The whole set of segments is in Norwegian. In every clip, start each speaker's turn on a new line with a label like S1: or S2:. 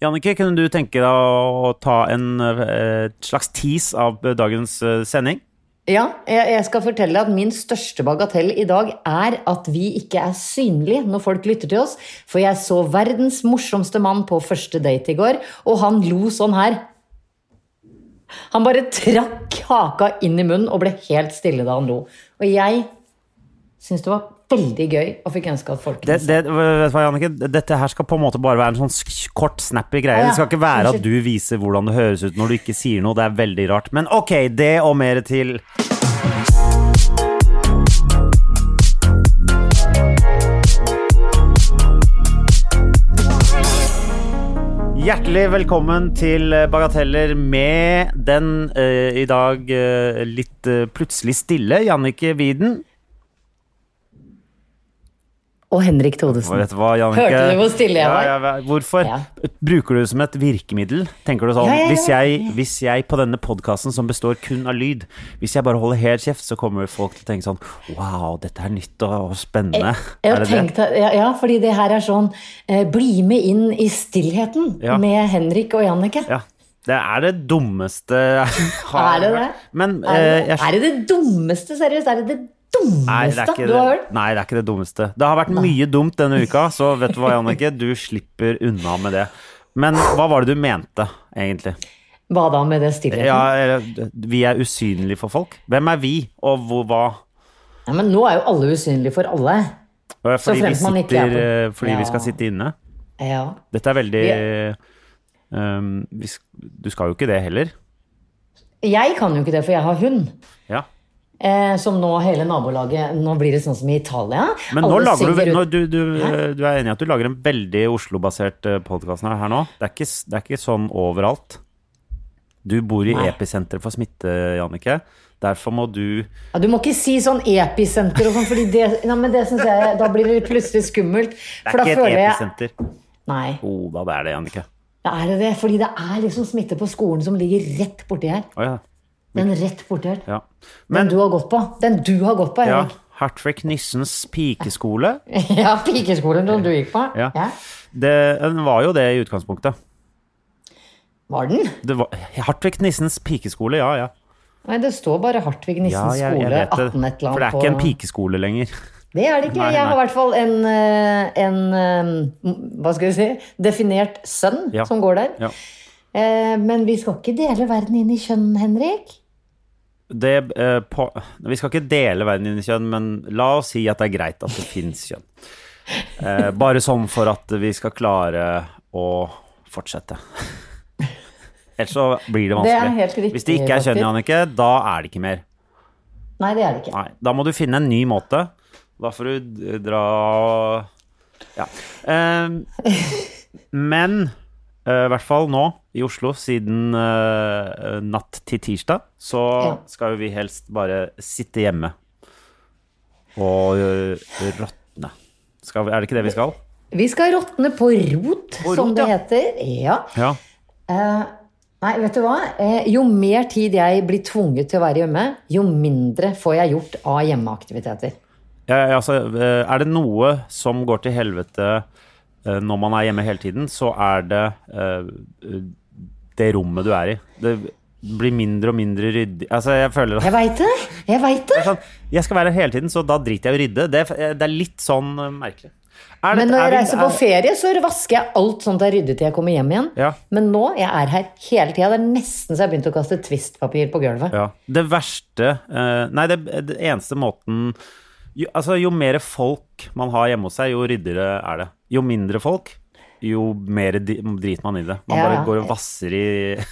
S1: Jannicke, kunne du tenke deg å ta en eh, slags tease av eh, dagens eh, sending?
S2: Ja, jeg, jeg skal fortelle at min største bagatell i dag er at vi ikke er synlige når folk lytter til oss. For jeg så verdens morsomste mann på første date i går, og han lo sånn her. Han bare trakk haka inn i munnen og ble helt stille da han lo. Og jeg syns det var veldig gøy og fikk ønske at folk
S1: Det, det, vet du hva, Jannicke? Dette her skal på en måte bare være en sånn sk- kort, snappy greie.
S2: Ja, ja.
S1: Det skal ikke være at
S2: Unnskyld.
S1: du viser hvordan det høres ut når du ikke sier noe. Det er veldig rart. Men ok, det og mer til. Hjertelig velkommen til Bagateller med den eh, i dag eh, litt eh, plutselig stille Jannicke Widen.
S2: Og Henrik
S1: Og
S2: Thodesen.
S1: Vet du hva, Jannicke?
S2: Hørte du hvor stille jeg var?
S1: Ja, ja, ja. hvorfor?
S2: Ja.
S1: Bruker du det som et virkemiddel? Tenker du sånn,
S2: Ja, ja, ja.
S1: Hvis, jeg, hvis jeg på denne podkasten som består kun av lyd, hvis jeg bare holder helt kjeft, så kommer folk til å tenke sånn Wow, dette er nytt og, og spennende.
S2: Jeg
S1: er
S2: har
S1: det det?
S2: tenkt at, ja, ja, fordi det her er sånn eh, Bli med inn i stillheten
S1: Ja.
S2: med Henrik og Jannicke.
S1: Ja. Det er det dummeste
S2: Er det det?
S1: Men
S2: Er
S1: eh,
S2: det,
S1: jeg
S2: er det det dummeste, seriøst? Er det det
S1: Nei det,
S2: dummeste
S1: er ikke
S2: du har
S1: det,
S2: hørt?
S1: nei, det er ikke det dummeste. Det har vært mye dumt denne uka, så vet du hva, Jannicke? Du slipper unna med det. Men hva var det du mente, egentlig?
S2: Hva da med det stillheten?
S1: Ja,
S2: Ja.
S1: eller, vi er usynlige for folk. Hvem er vi, og hvor, hva?
S2: men nå er jo alle usynlige for alle.
S1: Eh, Fordi,
S2: Så
S1: vi,
S2: fremt man ikke er
S1: sitter,
S2: på-
S1: eh, fordi vi
S2: Ja.
S1: skal sitte inne.
S2: Ja.
S1: Dette er veldig ehm, vi, sk- Du skal jo ikke det heller.
S2: Jeg kan jo ikke det, for jeg har hund.
S1: Ja.
S2: Eh, som nå hele nabolaget Nå blir det sånn som i Italia.
S1: Men nå
S2: Alle
S1: lager du,
S2: synger
S1: nå,
S2: ut-
S1: du, du, du er enig i at du lager en veldig Oslo-basert podkast her nå? Det er, ikke, s- det er ikke sånn overalt. Du bor i
S2: Nei.
S1: episenteret for smitte, Jannicke. Derfor må du
S2: ja, du må ikke si sånn episenter og sånn, Fordi det, nei, men det synes jeg Da blir det plutselig skummelt.
S1: Det
S2: For
S1: er
S2: da
S1: ikke
S2: føler
S1: et
S2: jeg
S1: episenter.
S2: Nei,
S1: Å da, det er det, Jannicke.
S2: det er det det. Fordi det er liksom smitte på skolen som ligger rett borti her.
S1: Å ja.
S2: Den rett borti her.
S1: ja.
S2: Den
S1: Men
S2: du har gått på. Den du har gått på,
S1: ja,
S2: Henrik.
S1: Hartvig Nissens pikeskole
S2: Ja, pikeskolen som du gikk på.
S1: Ja. Det, den var jo det i utgangspunktet.
S2: Var den?
S1: Det var, Hartvig Nissens pikeskole, ja, ja.
S2: Nei, det står bare Hartvig
S1: ja jeg,
S2: Nissens
S1: jeg
S2: skole,
S1: vet det.
S2: 18 et eller annet.
S1: For det er ikke en
S2: på-
S1: pikeskole lenger.
S2: Det er det ikke.
S1: Nei,
S2: Jeg har i
S1: nei.
S2: hvert fall en, eh, en eh, Hva skal vi si? Definert sønn
S1: Ja.
S2: som går der.
S1: Ja.
S2: Eh, Men vi skal ikke dele verden inn i kjønn, Henrik.
S1: Det, eh, på, vi skal ikke dele verden inn i kjønn, men la oss si at det er greit at det fins kjønn. Eh, bare sånn for at vi skal klare å fortsette. Ellers så blir det
S2: Det er
S1: vanskelig.
S2: helt riktig,
S1: Hvis det ikke er kjønn,
S2: faktisk.
S1: Jannicke, da er det ikke mer.
S2: Nei, det er det ikke.
S1: Nei, da må du finne en ny måte. Da får du d- dra Ja. Ehm, men eh, i hvert fall nå i Oslo, siden eh, natt til tirsdag, så
S2: Ja.
S1: skal jo vi helst bare sitte hjemme og eh, råtne. Skal vi- Er det ikke det vi skal?
S2: Vi skal råtne på rot,
S1: På
S2: som
S1: rot,
S2: det
S1: ja.
S2: heter. Ja.
S1: Ja.
S2: Eh, Nei, vet du hva? Eh, Jo mer tid jeg blir tvunget til å være hjemme, jo mindre får jeg gjort av hjemmeaktiviteter.
S1: Ja, altså, eh, er det noe som går til helvete eh, når man er hjemme hele tiden, så er det eh, det rommet du er i. Det blir mindre og mindre ryddig. Altså, jeg føler at
S2: Jeg veit det! Jeg veit det!
S1: det er sånn, jeg skal være her hele tiden, så da driter jeg i å rydde. Det, er- det er litt sånn eh, merkelig. Er det-
S2: Men når
S1: er
S2: jeg
S1: vi-
S2: reiser på
S1: er-
S2: ferie, så vasker jeg alt sånt jeg rydder til jeg kommer hjem igjen.
S1: Ja.
S2: Men nå, jeg er her hele tida. Det er nesten så jeg har begynt å kaste Twist-papir på gulvet.
S1: Ja. Det verste eh, Nei, det, det eneste måten jo, Altså, jo mer folk man har hjemme hos seg, jo ryddigere er det. Jo mindre folk, jo mer di- driter man i det. Man
S2: Ja,
S1: bare
S2: ja.
S1: går og vasser i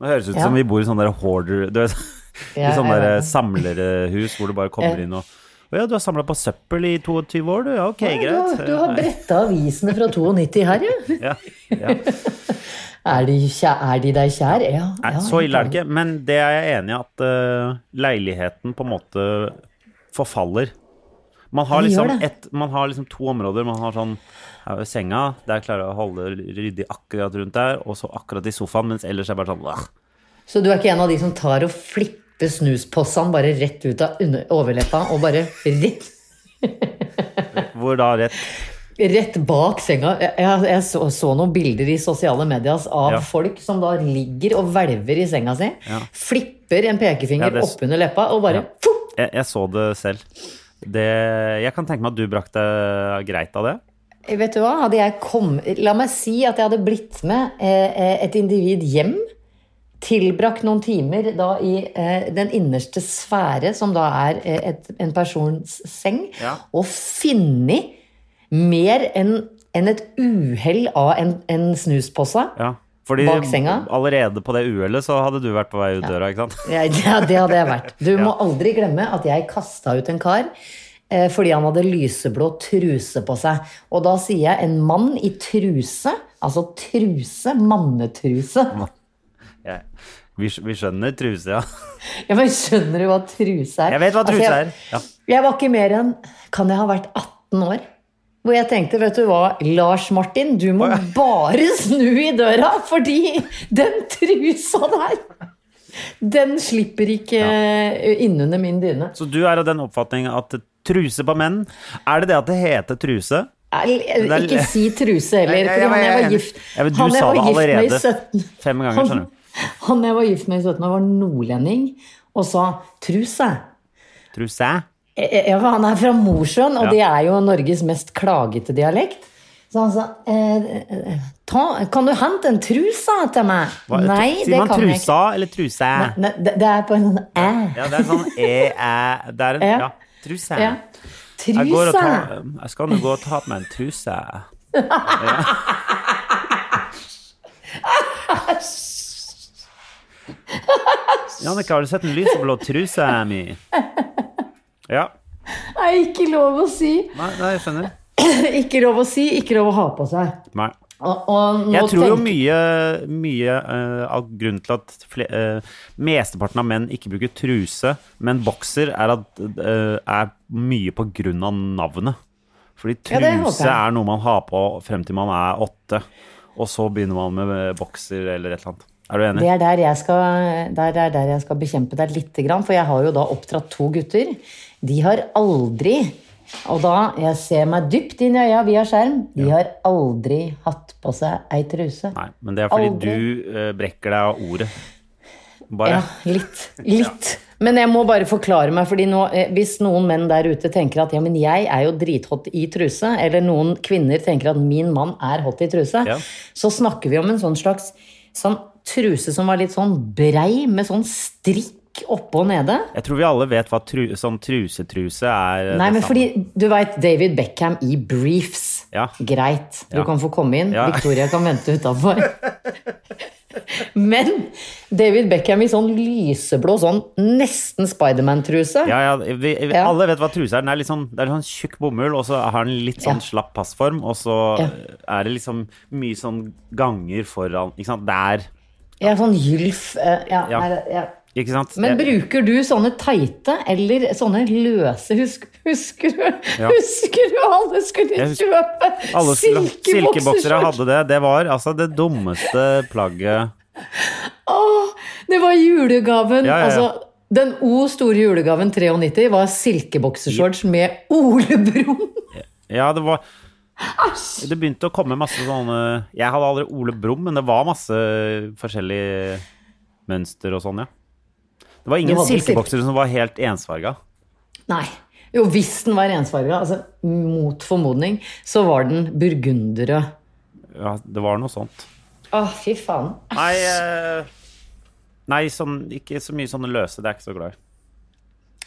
S1: Det høres ut
S2: Ja.
S1: som vi bor i sånn der hoarder du vet, I
S2: Ja,
S1: sånn
S2: jeg
S1: der
S2: vet det.
S1: samlerhus hvor du bare kommer
S2: Ja.
S1: inn og Å ja, du har samla på søppel i 22 år, du. Ja, ok,
S2: Du,
S1: greit.
S2: har- du har bretta avisene fra 92 her, ja.
S1: ja, ja.
S2: Er de, kjæ, er de deg kjær? Ja.
S1: Nei,
S2: ja,
S1: så ille er det
S2: helt
S1: ikke, men det er jeg enig i at eh, leiligheten på en måte forfaller. Man har,
S2: Ja, det gjør
S1: liksom
S2: det.
S1: et, man har liksom to områder. Man har sånn her ved senga, der klarer jeg å holde ryddig akkurat rundt der, og så akkurat i sofaen, mens ellers er jeg bare sånn "Åh."
S2: enig. Så du er ikke en av de som tar og flipper snuspossene bare rett ut av under, overleppa og bare rett
S1: Hvor da rett
S2: Rett bak senga. Jeg, jeg, jeg så, så noen bilder i sosiale medier av
S1: Ja.
S2: folk som da ligger og hvelver i senga si.
S1: Ja.
S2: Flipper en
S1: Ja,
S2: pekefinger
S1: det s-
S2: oppunder leppa og bare
S1: Ja.
S2: «Fu!»
S1: Jeg, jeg så det selv. Det, jeg kan tenke meg at du brakte greit av det.
S2: Vet du hva? Hadde jeg kom... La meg si at jeg hadde blitt med eh, et individ hjem. Tilbrakt noen timer da i eh, den innerste sfære, som da er eh, et, en persons seng,
S1: Ja.
S2: og funnet mer enn enn et uhell av en, en snuspose.
S1: Ja. Fordi
S2: Bak senga?
S1: allerede på det uhellet så hadde du vært på vei ut døra, ikke sant?
S2: Ja, ja, det hadde jeg vært. Du må aldri glemme at jeg kasta ut en kar eh, fordi han hadde lyseblå truse på seg. Og da sier jeg en mann i truse, altså truse, mannetruse.
S1: Jeg, vi, skj- vi skjønner truse, ja.
S2: Ja, men skjønner du hva truse er?
S1: Jeg vet hva truse
S2: altså, jeg,
S1: er. Ja.
S2: Jeg var ikke mer enn Kan jeg ha vært 18 år? Hvor jeg tenkte, vet du hva, Lars Martin, du må bare snu i døra, fordi den trusa der, den slipper ikke eh, innunder min dyne.
S1: Så du er av den oppfatning at truse på menn Er det det at det heter truse?
S2: Nei,
S1: Det er-
S2: Ikke si truse
S1: Nei,
S2: heller,
S1: nei, jeg-
S2: fordi han jeg
S1: jeg-
S2: var gift
S1: Ja, men du
S2: Han jeg
S1: sa
S2: var
S1: det
S2: gift med i
S1: allerede
S2: 17
S1: Fem ganger, skjønner du.
S2: Han jeg var gift med i 17 år, var nordlending og sa 'truse'.
S1: Truse?
S2: Eh, eh, Ja, for han er fra Mosjøen, og
S1: Ja.
S2: det er jo Norges mest klagete dialekt. Så han sa eh, eh, ta, 'Kan du hente en trusa til meg?'
S1: Hva-
S2: Nei,
S1: Sier
S2: det
S1: man
S2: kan jeg ikke.
S1: trusa eller truse?
S2: Nei, det, det er på en sånn æ.
S1: Ja, det er sånn e-æ Det er en
S2: Ja.
S1: Ja, truse.
S2: Ja.
S1: Jeg går og
S2: Trusa!
S1: tar Jeg skal nå gå og ta på meg en truse. Jannicke, har du sett den lyseblå trusa mi? Ja.
S2: Det er ikke lov å si.
S1: Nei, nei, jeg skjønner.
S2: Ikke lov å si, ikke lov å ha på seg.
S1: Nei.
S2: Og, og nå
S1: Jeg tror jo
S2: tenker-
S1: mye, mye eh, av grunnen til at fle, eh, mesteparten av menn ikke bruker truse, men bokser, er, at, eh, er mye på grunn av navnet. Fordi
S2: Ja,
S1: truse
S2: det håper jeg.
S1: er noe man har på frem til man er åtte, og så begynner man med eh, bokser eller et eller annet. Er du enig?
S2: Det er der jeg skal, der er der jeg skal bekjempe deg lite grann, for jeg har jo da oppdratt to gutter. De har aldri, og da jeg ser meg dypt inn i øya via skjerm, de har aldri hatt på seg ei truse.
S1: Nei, men det er fordi
S2: Aldri.
S1: du eh, brekker deg av ordet. Bare.
S2: Ja, litt. Litt. Men jeg må bare forklare meg, fordi nå, eh, hvis noen menn der ute tenker at ja, men jeg er jo drithot i truse, eller noen kvinner tenker at min mann er hot i truse,
S1: Ja.
S2: så snakker vi om en sånn slags sånn truse som var litt sånn brei, med sånn strikk oppe og nede.
S1: Jeg tror vi alle vet hva tru, sånn trusetruse er. eh,
S2: Nei,
S1: det
S2: men
S1: samme.
S2: fordi du veit David Beckham i briefs.
S1: Ja.
S2: Greit, du
S1: Ja.
S2: kan få komme inn.
S1: Ja.
S2: Victoria kan vente utafor. men David Beckham i sånn lyseblå, sånn nesten Spiderman-truse.
S1: Ja, ja, vi, vi,
S2: Ja.
S1: Alle vet hva truse er. Den er litt sånn, det er litt sånn tjukk bomull, og så har den litt sånn
S2: Ja.
S1: slapp passform, og så
S2: Ja.
S1: er det liksom mye sånn ganger foran Ikke sant? Der.
S2: Ja, sånn gylf. eh, Ja,
S1: Ja.
S2: Nei, ja.
S1: Ikke sant?
S2: Men
S1: Jeg-
S2: bruker du sånne teite eller sånne løse Husk, Husker du
S1: Ja.
S2: Husker du alle skulle
S1: Jeg husker-
S2: kjøpe
S1: alle sla- silkeboksere
S2: silkebokser?
S1: hadde det. Det var altså det dummeste plagget
S2: Åh, det var julegaven.
S1: Ja, ja, ja.
S2: Altså, den O store julegaven 93 var silkeboksershorts med Ole Brumm.
S1: Ja, det var Det begynte å komme masse sånne Jeg hadde aldri Ole Brumm, men det var masse forskjellige mønster og sånn, ja. Det var
S2: Du
S1: ingen
S2: hadde silke-
S1: silkeboksere som var helt ensfarga.
S2: Nei. Jo, hvis den var ensfarga, altså mot formodning, så var den burgunderrød.
S1: Ja, det var noe sånt.
S2: Å, fy faen.
S1: Nei, eh, nei sånn, ikke så mye sånne løse. Det er jeg ikke så glad i.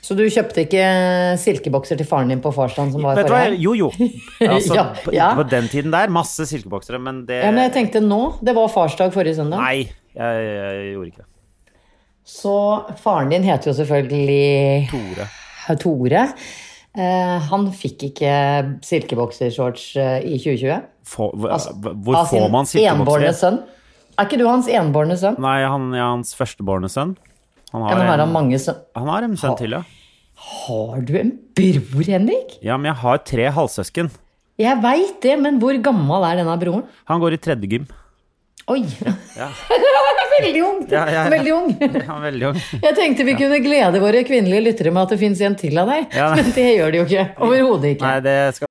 S2: Så du kjøpte ikke eh, silkebokser til faren din på farsdagen som var
S1: Vet du hva?
S2: forrige helg?
S1: Jo, jo. Altså,
S2: Ja,
S1: på-
S2: ja.
S1: På den tiden der, masse silkeboksere, men det
S2: Ja, men jeg tenkte nå. Det var farsdag forrige søndag.
S1: Nei, jeg, jeg gjorde ikke det.
S2: Så faren din heter jo selvfølgelig
S1: Tore.
S2: Tore. Eh, han fikk ikke silkeboksershorts eh, i 2020.
S1: Få- hvor
S2: Altså,
S1: hvor
S2: av
S1: får
S2: sin
S1: man
S2: enbårne
S1: silkeboksere?
S2: sønn. Er ikke du hans enbårne sønn?
S1: Nei, han er hans førstebårne sønn. Han
S2: Ja,
S1: har,
S2: men har han
S1: en,
S2: mange sønn?
S1: han har en sønn til, ja.
S2: Har du en bror, Henrik?
S1: Ja, men jeg har tre halvsøsken.
S2: Jeg veit det, men hvor gammel er denne broren?
S1: Han går i tredje gym.
S2: Oi!
S1: Ja.
S2: Veldig ung!
S1: Ja, ja, ja.
S2: Veldig ung.
S1: Han er veldig ung.
S2: Jeg tenkte vi kunne glede våre kvinnelige lyttere med at det fins en til av deg,
S1: Ja.
S2: men det gjør det jo ikke. Overhodet ikke.
S1: Nei, det skal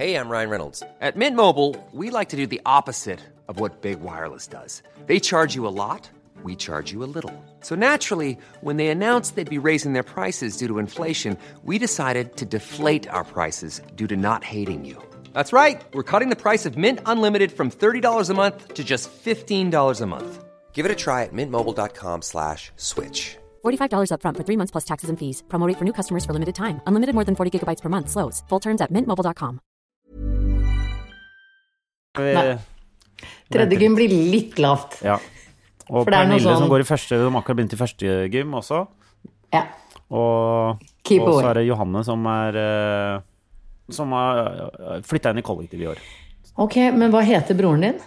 S3: Hey, I'm Ryan Reynolds. At Mint Mobile, we like to do the opposite of what Big Wireless does. They charge you a lot, we charge you a little. So naturally, when they announced they'd be raising their prices due to inflation, we decided to deflate our prices due to not hating you. That's right. We're cutting the price of Mint Unlimited from $30 a month to just $15 a month. Give it a try at mintmobile.com slash switch.
S4: $45 upfront for three months plus taxes and fees. Promo rate for new customers for limited time. Unlimited more than 40 gigabytes per month. Slows. Full terms at mintmobile.com.
S2: Nei. Tredje gym blir litt lavt.
S1: Ja. Og
S2: For det er noe
S1: Pernille som
S2: sånn-
S1: går i første, de har akkurat begynt i første gym også.
S2: Ja.
S1: Og,
S2: Keep
S1: og så
S2: away.
S1: er det Johanne som er eh, Som har flytta inn i kollektivet i år.
S2: Ok, men hva heter broren din?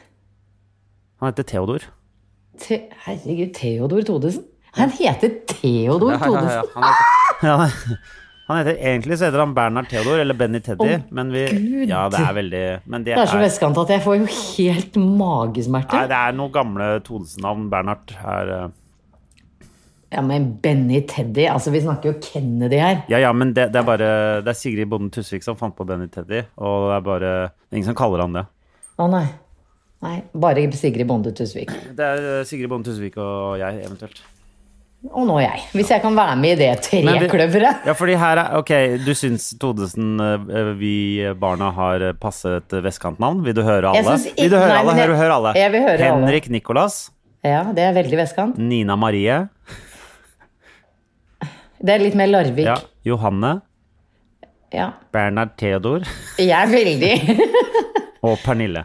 S1: Han heter Theodor.
S2: Te Herregud, Theodor Todesen? Han heter Theodor Todesen?
S1: Han heter, han heter, egentlig så heter han Bernhard Theodor, eller Benny Teddy,
S2: Å,
S1: men vi
S2: Gud.
S1: Ja, det er veldig Men det
S2: Det er så
S1: er
S2: vestkant at jeg får jo helt
S1: Nei,
S2: magesmerter.
S1: det er noen gamle Thodesen-navn. Bernhard er eh,
S2: Ja, men Benny Teddy, altså vi snakker jo Kennedy her.
S1: Ja, ja, men det, det er bare Det er Sigrid Bonden Tusvik som fant på Benny Teddy, og det er bare det er Ingen som kaller han det.
S2: Å nei. Nei, bare Sigrid Bonde Tusvik.
S1: Det er eh, Sigrid Bonden Tusvik og jeg, eventuelt.
S2: Og nå jeg. Hvis jeg kan være med i det
S1: Men vi-
S2: trekløveret.
S1: Ja, fordi her er Ok, du syns Todesen eh, vi barna har eh, passet vestkantnavn? Vil du høre alle?
S2: Jeg syns ikke-
S1: vil du høre
S2: nei,
S1: alle?
S2: men jeg-
S1: Hør, hør alle.
S2: jeg vil høre alle.
S1: Henrik Nicolas,
S2: Ja, det er veldig vestkant.
S1: Nina Marie,
S2: Det er litt mer Larvik.
S1: ja, Johanne,
S2: Ja.
S1: Bernhard Theodor
S2: Jeg er veldig
S1: og Pernille.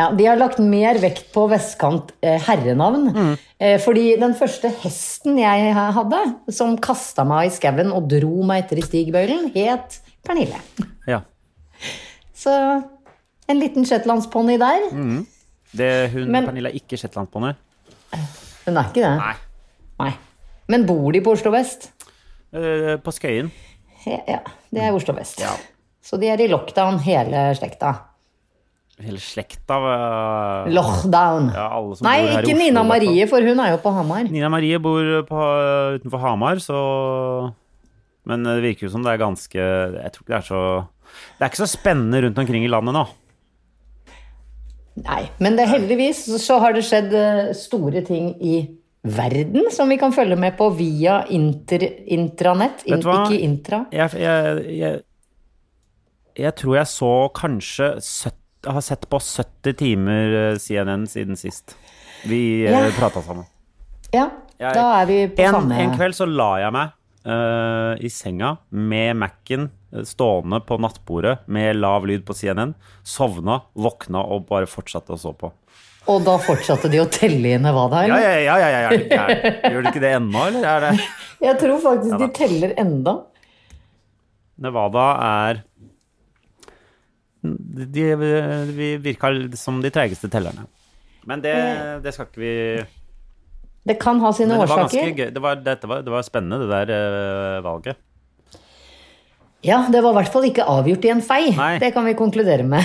S2: Ja, de har lagt mer vekt på vestkant eh, herrenavn.
S1: Mm.
S2: Eh, fordi den første hesten jeg ha- hadde, som kasta meg i skauen og dro meg etter i stigbøylen, het Pernille.
S1: Ja.
S2: Så en liten shetlandsponni der.
S1: Mm. Det, hun
S2: Men-
S1: Pernille er ikke shetlandsponni.
S2: Hun er ikke det.
S1: Nei.
S2: Nei. Men bor de på Oslo vest?
S1: Eh, på Skøyen.
S2: He- Ja, det er Oslo vest. Så de er i lockdown, hele slekta.
S1: Hele slekta eh,
S2: Lockdown.
S1: ja, alle som
S2: Nei,
S1: bor her i
S2: ikke
S1: Oslo,
S2: Nina
S1: i hvert fall.
S2: Marie, for hun er jo på Hamar.
S1: Nina Marie bor på, utenfor Hamar, så Men det virker jo som det er ganske Jeg tror ikke det er så Det er ikke så spennende rundt omkring i landet nå.
S2: Nei, men det, heldigvis så har det skjedd eh, store ting i verden som vi kan følge med på via inter, intranett. In,
S1: Vet du hva?
S2: ikke intra.
S1: Jeg, jeg, jeg, jeg tror jeg så kanskje 70, har sett på 70 timer eh, CNN siden sist vi ja.
S2: Ja.
S1: prata sammen.
S2: Ja,
S1: Jeg-
S2: da er vi på
S1: En,
S2: samme
S1: en kveld så la jeg meg eh, i senga med Mac-en eh, stående på nattbordet med lav lyd på CNN. Sovna, våkna og bare fortsatte å så på.
S2: Og da fortsatte de å telle inn hva det er.
S1: Ja, ja, ja, ja, ja, er du gæren? Gjør du ikke det ennå, eller? Er det?
S2: Jeg tror faktisk de teller enda.
S1: Nevada er De, de virka som de treigeste tellerne. Men det, det skal ikke vi
S2: Det kan ha sine
S1: Men det var ganske
S2: årsaker.
S1: gøy. Det var, dette var, det var spennende, det der eh, valget.
S2: Ja, det var i hvert fall ikke avgjort i en fei.
S1: Nei.
S2: Det kan vi konkludere med.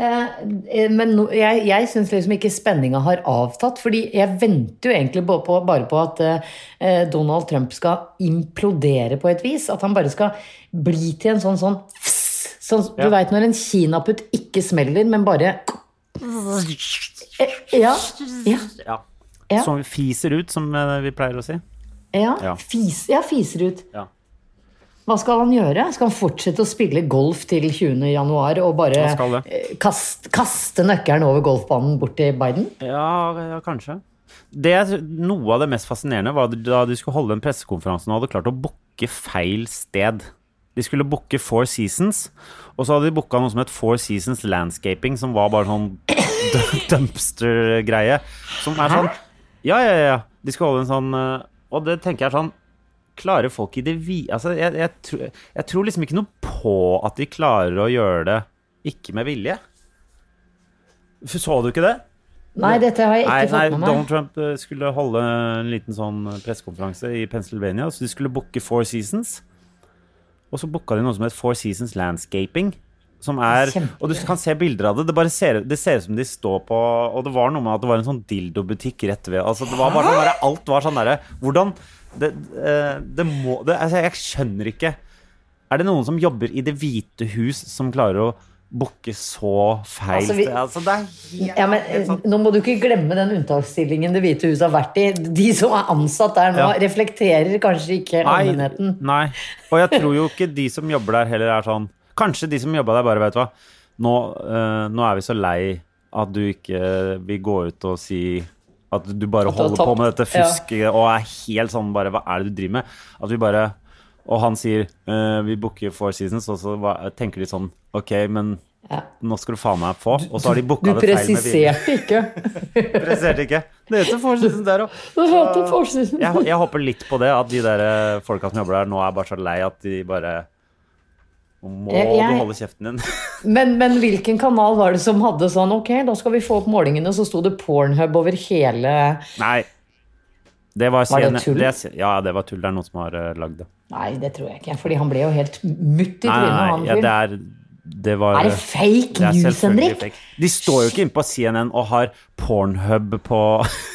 S2: Eh, eh, Men no, jeg, jeg syns liksom ikke spenninga har avtatt. fordi jeg venter jo egentlig bare på, bare på at eh, Donald Trump skal implodere på et vis. At han bare skal bli til en sånn sånn fss, sånn, Du
S1: Ja.
S2: veit når en kinaputt ikke smeller, men bare eh, Ja. ja.
S1: Ja.
S2: Ja.
S1: Som fiser ut, som eh, vi pleier å si.
S2: Ja,
S1: Ja.
S2: Fis, ja fiser ut.
S1: Ja.
S2: Hva skal han gjøre? Skal han fortsette å spille golf til 20. januar og bare
S1: Han skal det.
S2: eh, kast, kaste nøkkelen over golfbanen bort til Biden?
S1: Ja, ja kanskje. Det, jeg tr- noe av det mest fascinerende var da de skulle holde den pressekonferansen og hadde klart å booke feil sted. De skulle booke Four Seasons, og så hadde de booka noe som het Four Seasons Landscaping, som var bare sånn d- dumpster-greie. Som er sånn Ja, ja, ja. De skal holde en sånn eh, Og det tenker jeg er sånn Klarer folk i det vi... Altså, jeg, jeg, tror, jeg tror liksom ikke noe på at de klarer å gjøre det ikke med vilje. F- Så du ikke det?
S2: Nei, dette har jeg ikke
S1: Nei, nei,
S2: fått med meg.
S1: Donald Trump eh, skulle holde en liten sånn pressekonferanse i Pennsylvania. Så de skulle booke Four Seasons. Og så booka de noe som het Four Seasons Landscaping. Som er,
S2: Kjempegøy.
S1: og du kan se bilder av det. Det, bare ser, det ser ut som de står på Og det var noe med at det var en sånn dildobutikk rett ved. Altså, det var bare sånn derre- alt var sånn derre Hvordan Det, eh, det må det, altså, Jeg skjønner ikke. Er det noen som jobber i Det hvite hus som klarer å booke så feil
S2: Altså, vi-
S1: sted? Altså, det er helt,
S2: Ja, men
S1: helt sånn
S2: eh, Nå må du ikke glemme den unntaksstillingen Det hvite huset har vært i. De som er ansatt der nå,
S1: Ja.
S2: reflekterer kanskje ikke allmennheten.
S1: Nei. Og jeg tror jo ikke de som jobber der heller er sånn Kanskje de som jobba der bare, vet du hva nå, eh, nå er vi så lei at du ikke vil gå ut og si at du bare
S2: At du har
S1: holder på
S2: tapt.
S1: med dette fusket og er helt sånn bare Hva er det du driver med? At vi bare Og han sier eh, vi booker Four Seasons, og så hva, tenker de sånn Ok, men nå skal du faen meg få. Og så har de
S2: Du
S1: booka det feil med vilje.
S2: presiserte ikke.
S1: Presiserte ikke. Det heter Four Seasons der òg.
S2: Du hørte forskjellen.
S1: jeg, jeg håper litt på det, at de der eh, folka som jobber der nå er bare så lei at de bare Må
S2: Jeg- jeg-
S1: du holde kjeften din?
S2: Men, men hvilken kanal var det som hadde sånn Ok, da skal vi få opp målingene. Så sto det Pornhub over hele
S1: Nei. Det var,
S2: Var det
S1: CNN
S2: tull?
S1: er C- ja, det var tull. Det er noen som har eh, lagd det.
S2: Nei, det tror jeg ikke. Fordi han ble jo helt mutt i
S1: Nei,
S2: trynet.
S1: nei,
S2: han
S1: nei. Ja,
S2: fyren.
S1: det er Det var
S2: er det fake
S1: er
S2: news,
S1: selvfølgelig
S2: Henrik?
S1: fake. De står jo ikke inne på CNN og har Pornhub på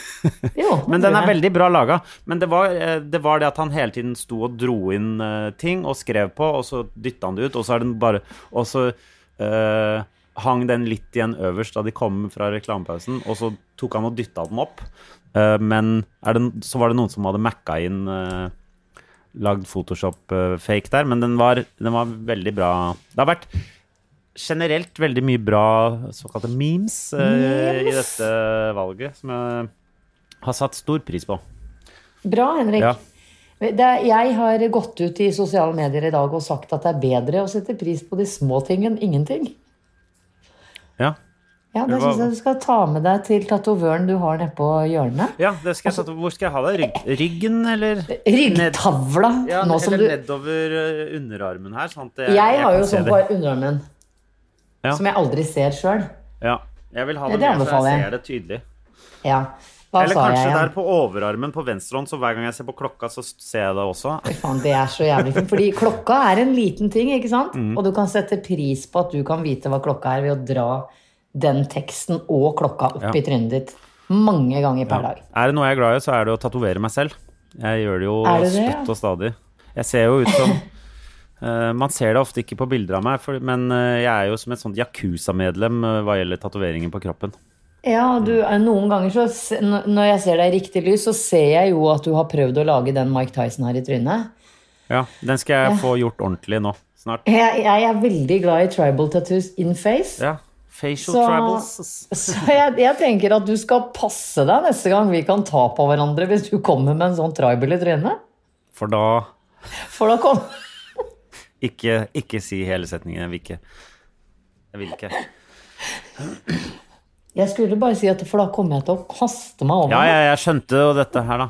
S2: Jo,
S1: Men den
S2: det tror
S1: er
S2: jeg.
S1: veldig bra laga. Men det var, eh, det var det at han hele tiden sto og dro inn eh, ting og skrev på, og så dytta han det ut, og så er den bare Og så eh, hang den litt igjen øverst da de kom fra reklamepausen, og så tok han og dytta den opp. Eh, men er det, så var det noen som hadde macka inn eh, Lagd Photoshop-fake der, men den var, den var veldig bra. Det har vært generelt veldig mye bra såkalte memes, eh, i
S2: Memes.
S1: dette valget, som jeg har satt stor pris på.
S2: Bra, Henrik.
S1: Ja.
S2: Det er, jeg har gått ut i sosiale medier i dag og sagt at det er bedre å sette pris på de små ting enn ingenting.
S1: Ja,
S2: Ja, Det
S1: Det var-
S2: syns jeg du skal ta med deg til tatovøren du har nedpå hjørnet.
S1: ja det skal jeg sette, hvor skal jeg ha det? Rygg, ryggen, eller?
S2: Ryggtavla!
S1: Ja,
S2: nå som
S1: eller
S2: du
S1: nedover eh, underarmen her. Sånn at jeg,
S2: Jeg har
S1: kan
S2: jo
S1: se
S2: sånn
S1: det.
S2: på underarmen
S1: Ja.
S2: som jeg aldri ser sjøl.
S1: Ja, jeg vil ha det,
S2: Det
S1: med, så
S2: anbefaler
S1: jeg
S2: jeg.
S1: ser det tydelig.
S2: Ja. Hva
S1: Eller
S2: sa
S1: kanskje
S2: jeg
S1: der
S2: igjen?
S1: på overarmen på venstre hånd, så hver gang jeg ser på klokka, så ser jeg det også.
S2: Fy Faen, det er så jævlig fint. Fordi klokka er en liten ting, ikke sant?
S1: Mm.
S2: Og du kan sette pris på at du kan vite hva klokka er ved å dra den teksten og klokka opp
S1: Ja.
S2: i trynet ditt mange ganger per dag.
S1: Er det noe jeg er glad i, så er det å tatovere meg selv. Jeg gjør det jo
S2: Er det det, ja?
S1: støtt og stadig. Jeg ser jo ut som Eh, Man ser det ofte ikke på bilder av meg, for, men eh, jeg er jo som et sånt Yakuza-medlem eh, hva gjelder tatoveringer på kroppen.
S2: Ja, du, eh, noen ganger så se- n- Når jeg ser deg i riktig lys, så ser jeg jo at du har prøvd å lage den Mike Tyson her i trynet.
S1: Ja, den skal jeg få gjort ordentlig nå snart.
S2: Jeg, jeg er veldig glad i tribal tattoos in face.
S1: Ja. Facial
S2: Så-
S1: tribals.
S2: Så jeg, jeg tenker at du skal passe deg neste gang vi kan ta på hverandre hvis du kommer med en sånn tribal i trynet.
S1: For da
S2: For da kom...
S1: Ikke, ikke si hele setningen. Jeg vil ikke. Jeg vil ikke.
S2: Jeg skulle bare si at for da kommer jeg til å kaste meg over
S1: Ja,
S2: den.
S1: jeg, jeg skjønte jo dette her, da.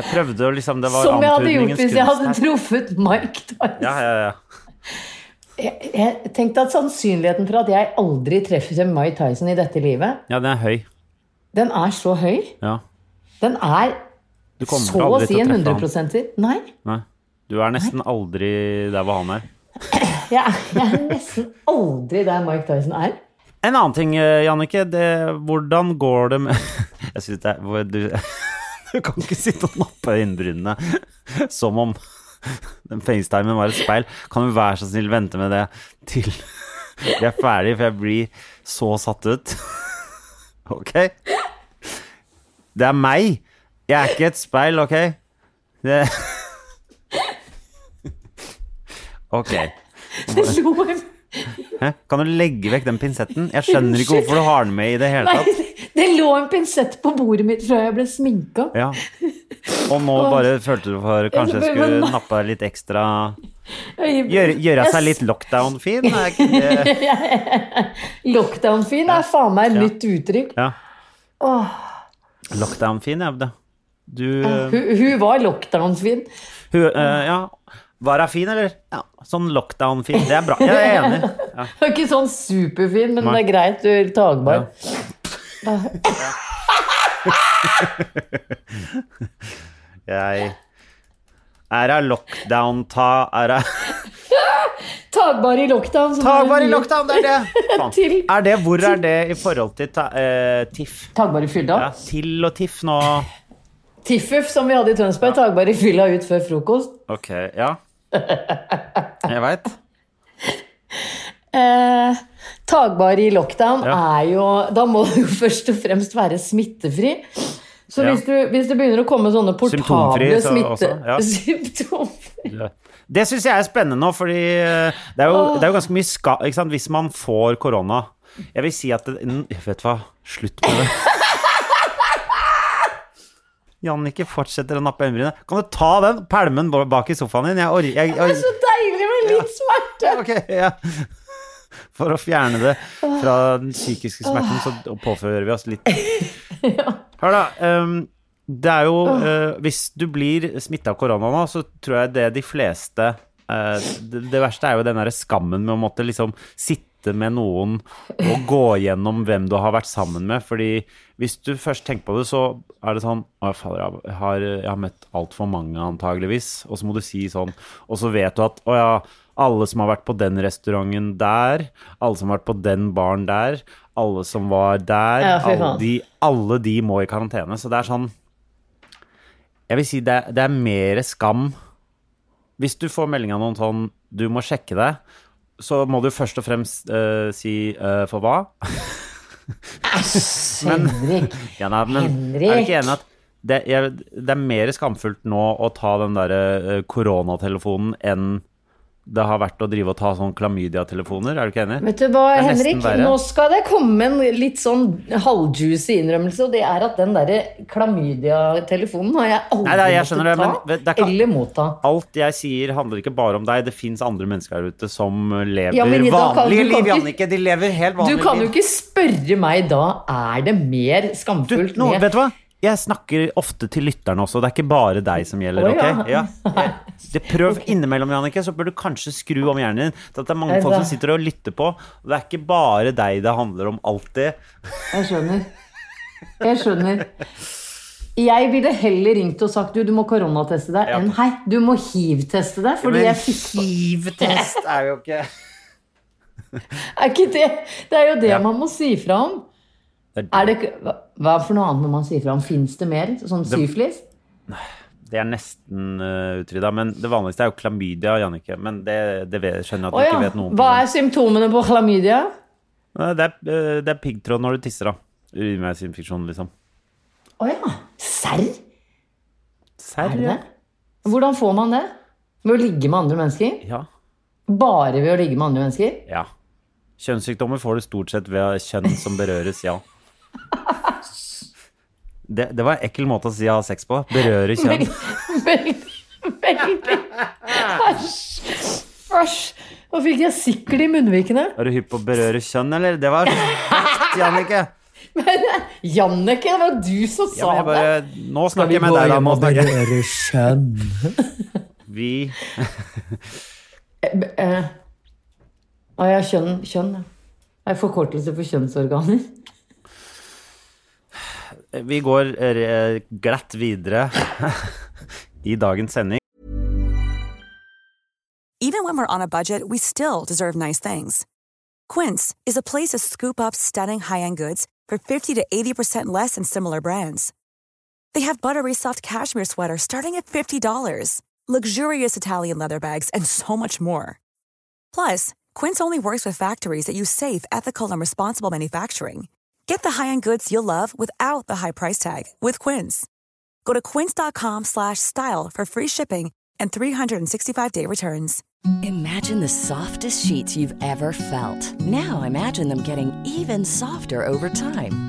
S1: Jeg prøvde jo liksom Det var
S2: Som jeg hadde gjort
S1: antydningens
S2: hvis jeg hadde
S1: kunst her.
S2: truffet Mike Tyson.
S1: Ja, ja, ja.
S2: Jeg, jeg tenkte at sannsynligheten for at jeg aldri treffer Mike Tyson i dette livet,
S1: ja, den er høy.
S2: den er så høy.
S1: Ja.
S2: Den er
S1: Du kommer
S2: så å
S1: aldri
S2: si
S1: til å
S2: en
S1: treffe
S2: 100
S1: han.
S2: %-er. Nei,
S1: Nei. Du er nesten aldri der hvor han er.
S2: jeg er, jeg er nesten aldri der Mike Tyson er.
S1: En annen ting, eh, Jannicke. Det, hvordan går det med Jeg synes det er hvor- du, du kan ikke sitte og nappe øyenbrynene som om den facetimen var et speil. Kan du være så snill vente med det til vi er ferdig, for jeg blir så satt ut. Ok? Det er meg. Jeg er ikke et speil, ok? Det... Ok.
S2: Lo jeg-
S1: Hæ? Kan du legge vekk den pinsetten? Jeg skjønner ikke hvorfor du har den med i det hele
S2: Nei,
S1: tatt.
S2: det- det lå en pinsett på bordet mitt fra jeg ble sminka.
S1: Ja. Og nå bare følte du for kanskje jeg skulle nappe litt ekstra Gjøre, gjøre seg litt lockdown-fin? er ikke det-
S2: Lockdown-fin er faen meg et nytt uttrykk.
S1: Ja. Lockdown-fin, ja. da. Du eh,
S2: Hun, hun var lockdown-fin.
S1: hu, eh, Ja. Var hun fin, eller? Ja. Sånn lockdown-fin. Det er bra. Jeg er enig.
S2: Hun er ikke sånn superfin, men det er greit, du er tagbar.
S1: Jeg Er hun lockdown-ta... Er hun
S2: Tagbar i lockdown. som er
S1: Tagbar i
S2: mye-
S1: lockdown, det er det! Faen.
S2: Til-
S1: Er det hvor er det i forhold til ta, eh, TIFF?
S2: Tagbar i fylla.
S1: Ja, til og TIFF nå
S2: Tiffuf, som vi hadde i Tønsberg, tagbar i fylla ut før frokost.
S1: Ok, ja. Jeg veit.
S2: Eh, tagbar i lockdown
S1: Ja.
S2: er jo Da må du jo først og fremst være smittefri. Så
S1: Ja.
S2: hvis, du, hvis det begynner å komme sånne portable
S1: Symptomfri, så
S2: smitte...
S1: også, ja.
S2: Symptomfri.
S1: Det syns jeg er spennende nå, fordi eh, det er jo, det er jo ganske mye ska... Ikke sant? Hvis man får korona Jeg vil si at det, n- Vet du hva? Slutt med det. Jannicke fortsetter å nappe øyenbrynene. Kan du ta den pælmen ba- bak i sofaen din? Jeg orker jeg,
S2: Det
S1: jeg,
S2: er så deilig med litt smerte!
S1: Ok, ja. For å fjerne det fra den psykiske smerten, så påfører vi oss litt Hør, da. ehm, det er jo eh, Hvis du blir smitta av korona nå, så tror jeg det de fleste eh, det, det verste er jo den derre skammen med å måtte liksom sitte med noen og gå gjennom hvem du har vært sammen med. Fordi hvis du først tenker på det, så er det sånn Å, fader, jeg har, jeg har møtt altfor mange, antageligvis. Og så må du si sånn Og så vet du at Å ja, alle som har vært på den restauranten der, alle som har vært på den baren der, alle som var der
S2: Ja, fy
S1: alle
S2: faen.
S1: de, alle de må i karantene. Så det er sånn Jeg vil si det, er- det er mer skam Hvis du får melding av noen sånn Du må sjekke deg, så må du først og fremst eh, si eh, for hva?
S2: Æsj, Henrik.
S1: Ja, nei, men er du
S2: Henrik.
S1: ikke enig at det, jeg, det er mer skamfullt nå å ta den der eh, koronatelefonen enn det har vært å drive og ta sånn klamydia-telefoner? Er du ikke enig?
S2: Vet du hva,
S1: Det er nesten
S2: Henrik?
S1: verre.
S2: Nå skal det komme en litt sånn halvjuicy innrømmelse, og det er at den derre klamydia-telefonen har jeg aldri
S1: Nei, nei, jeg skjønner det,
S2: måttet
S1: men
S2: ta
S1: det er ikke-
S2: eller motta.
S1: Alt jeg sier handler ikke bare om deg. Det fins andre mennesker der ute som lever
S2: Ja, men i dag kan-
S1: vanlige
S2: du kan
S1: liv,
S2: ikke-
S1: Jannicke. De lever helt
S2: Du
S1: vanlige liv.
S2: kan jo ikke spørre meg da er det mer
S1: Du,
S2: skamfullt
S1: nå,
S2: med
S1: vet du hva? Jeg snakker ofte til lytterne også, det er ikke bare deg som gjelder.
S2: Å,
S1: ok?
S2: ja.
S1: ja. Jeg- Det Prøv innimellom, Jannicke, så bør du kanskje skru om hjernen din. Så at det er mange
S2: Er
S1: folk som
S2: det-
S1: sitter og lytter på. Og det er ikke bare deg det handler om alltid.
S2: Jeg skjønner. Jeg skjønner. Jeg ville heller ringt og sagt du, du må koronateste deg, enn hei, du må hiv-teste deg. Fordi jeg fikk
S1: hivtest er jo ikke
S2: Er ikke det Det er jo det man må si fra om.
S1: Det
S2: Er det ikke hva- Hva for noe annet må man si fra om? Fins det mer? Sånn syflis?
S1: Det er nesten uh, utrydda. Men det vanligste er jo klamydia, Jannicke. Men det, det vet, skjønner jeg at du
S2: Å
S1: ikke
S2: ja.
S1: vet noe om.
S2: Hva er symptomene på klamydia?
S1: Nei, Det er, eh, det er piggtråd når du tisser, da. Urinveisinfeksjon, liksom.
S2: Å ja. Serr?
S1: Serr?
S2: Er det det? Hvordan får man det? Ved å ligge med andre mennesker?
S1: Ja.
S2: Bare ved å ligge med andre mennesker?
S1: ja. Kjønnssykdommer får du stort sett ved kjønn som berøres, ja. Det, det var en ekkel måte å si ha sex på. Berøre kjønn.
S2: Veldig, veldig Æsj. Æsj. Nå fikk jeg sikkel i munnvikene.
S1: Er du hypp på å berøre kjønn, eller? Det var høyt, Jannicke.
S2: Men Jannicke, det var du som
S1: Ja,
S2: sa
S1: men jeg
S2: det.
S1: bare, nå snakker jeg med deg, da. Nå snakker jeg.
S2: kjønn?
S1: Vi
S2: Eh, å ja, kjønn. kjønn ja. Det er forkortelse for kjønnsorganer.
S1: Vi går eh, glatt videre i dagens sending.
S5: Even when we're on a budget, we still deserve nice things. Quince is a place to scoop up stunning high end goods for 50 to 80% less than similar brands. They have buttery soft cashmere sweaters starting at $50, luxurious Italian leather bags, and so much more. Plus, Quince only works with factories that use safe, ethical, and responsible manufacturing. Get the high-end goods you'll love without the high price tag with Quince. Go to quince.com slash style for free shipping and 365-day returns.
S6: Imagine the softest sheets you've ever felt. Now imagine them getting even softer over time.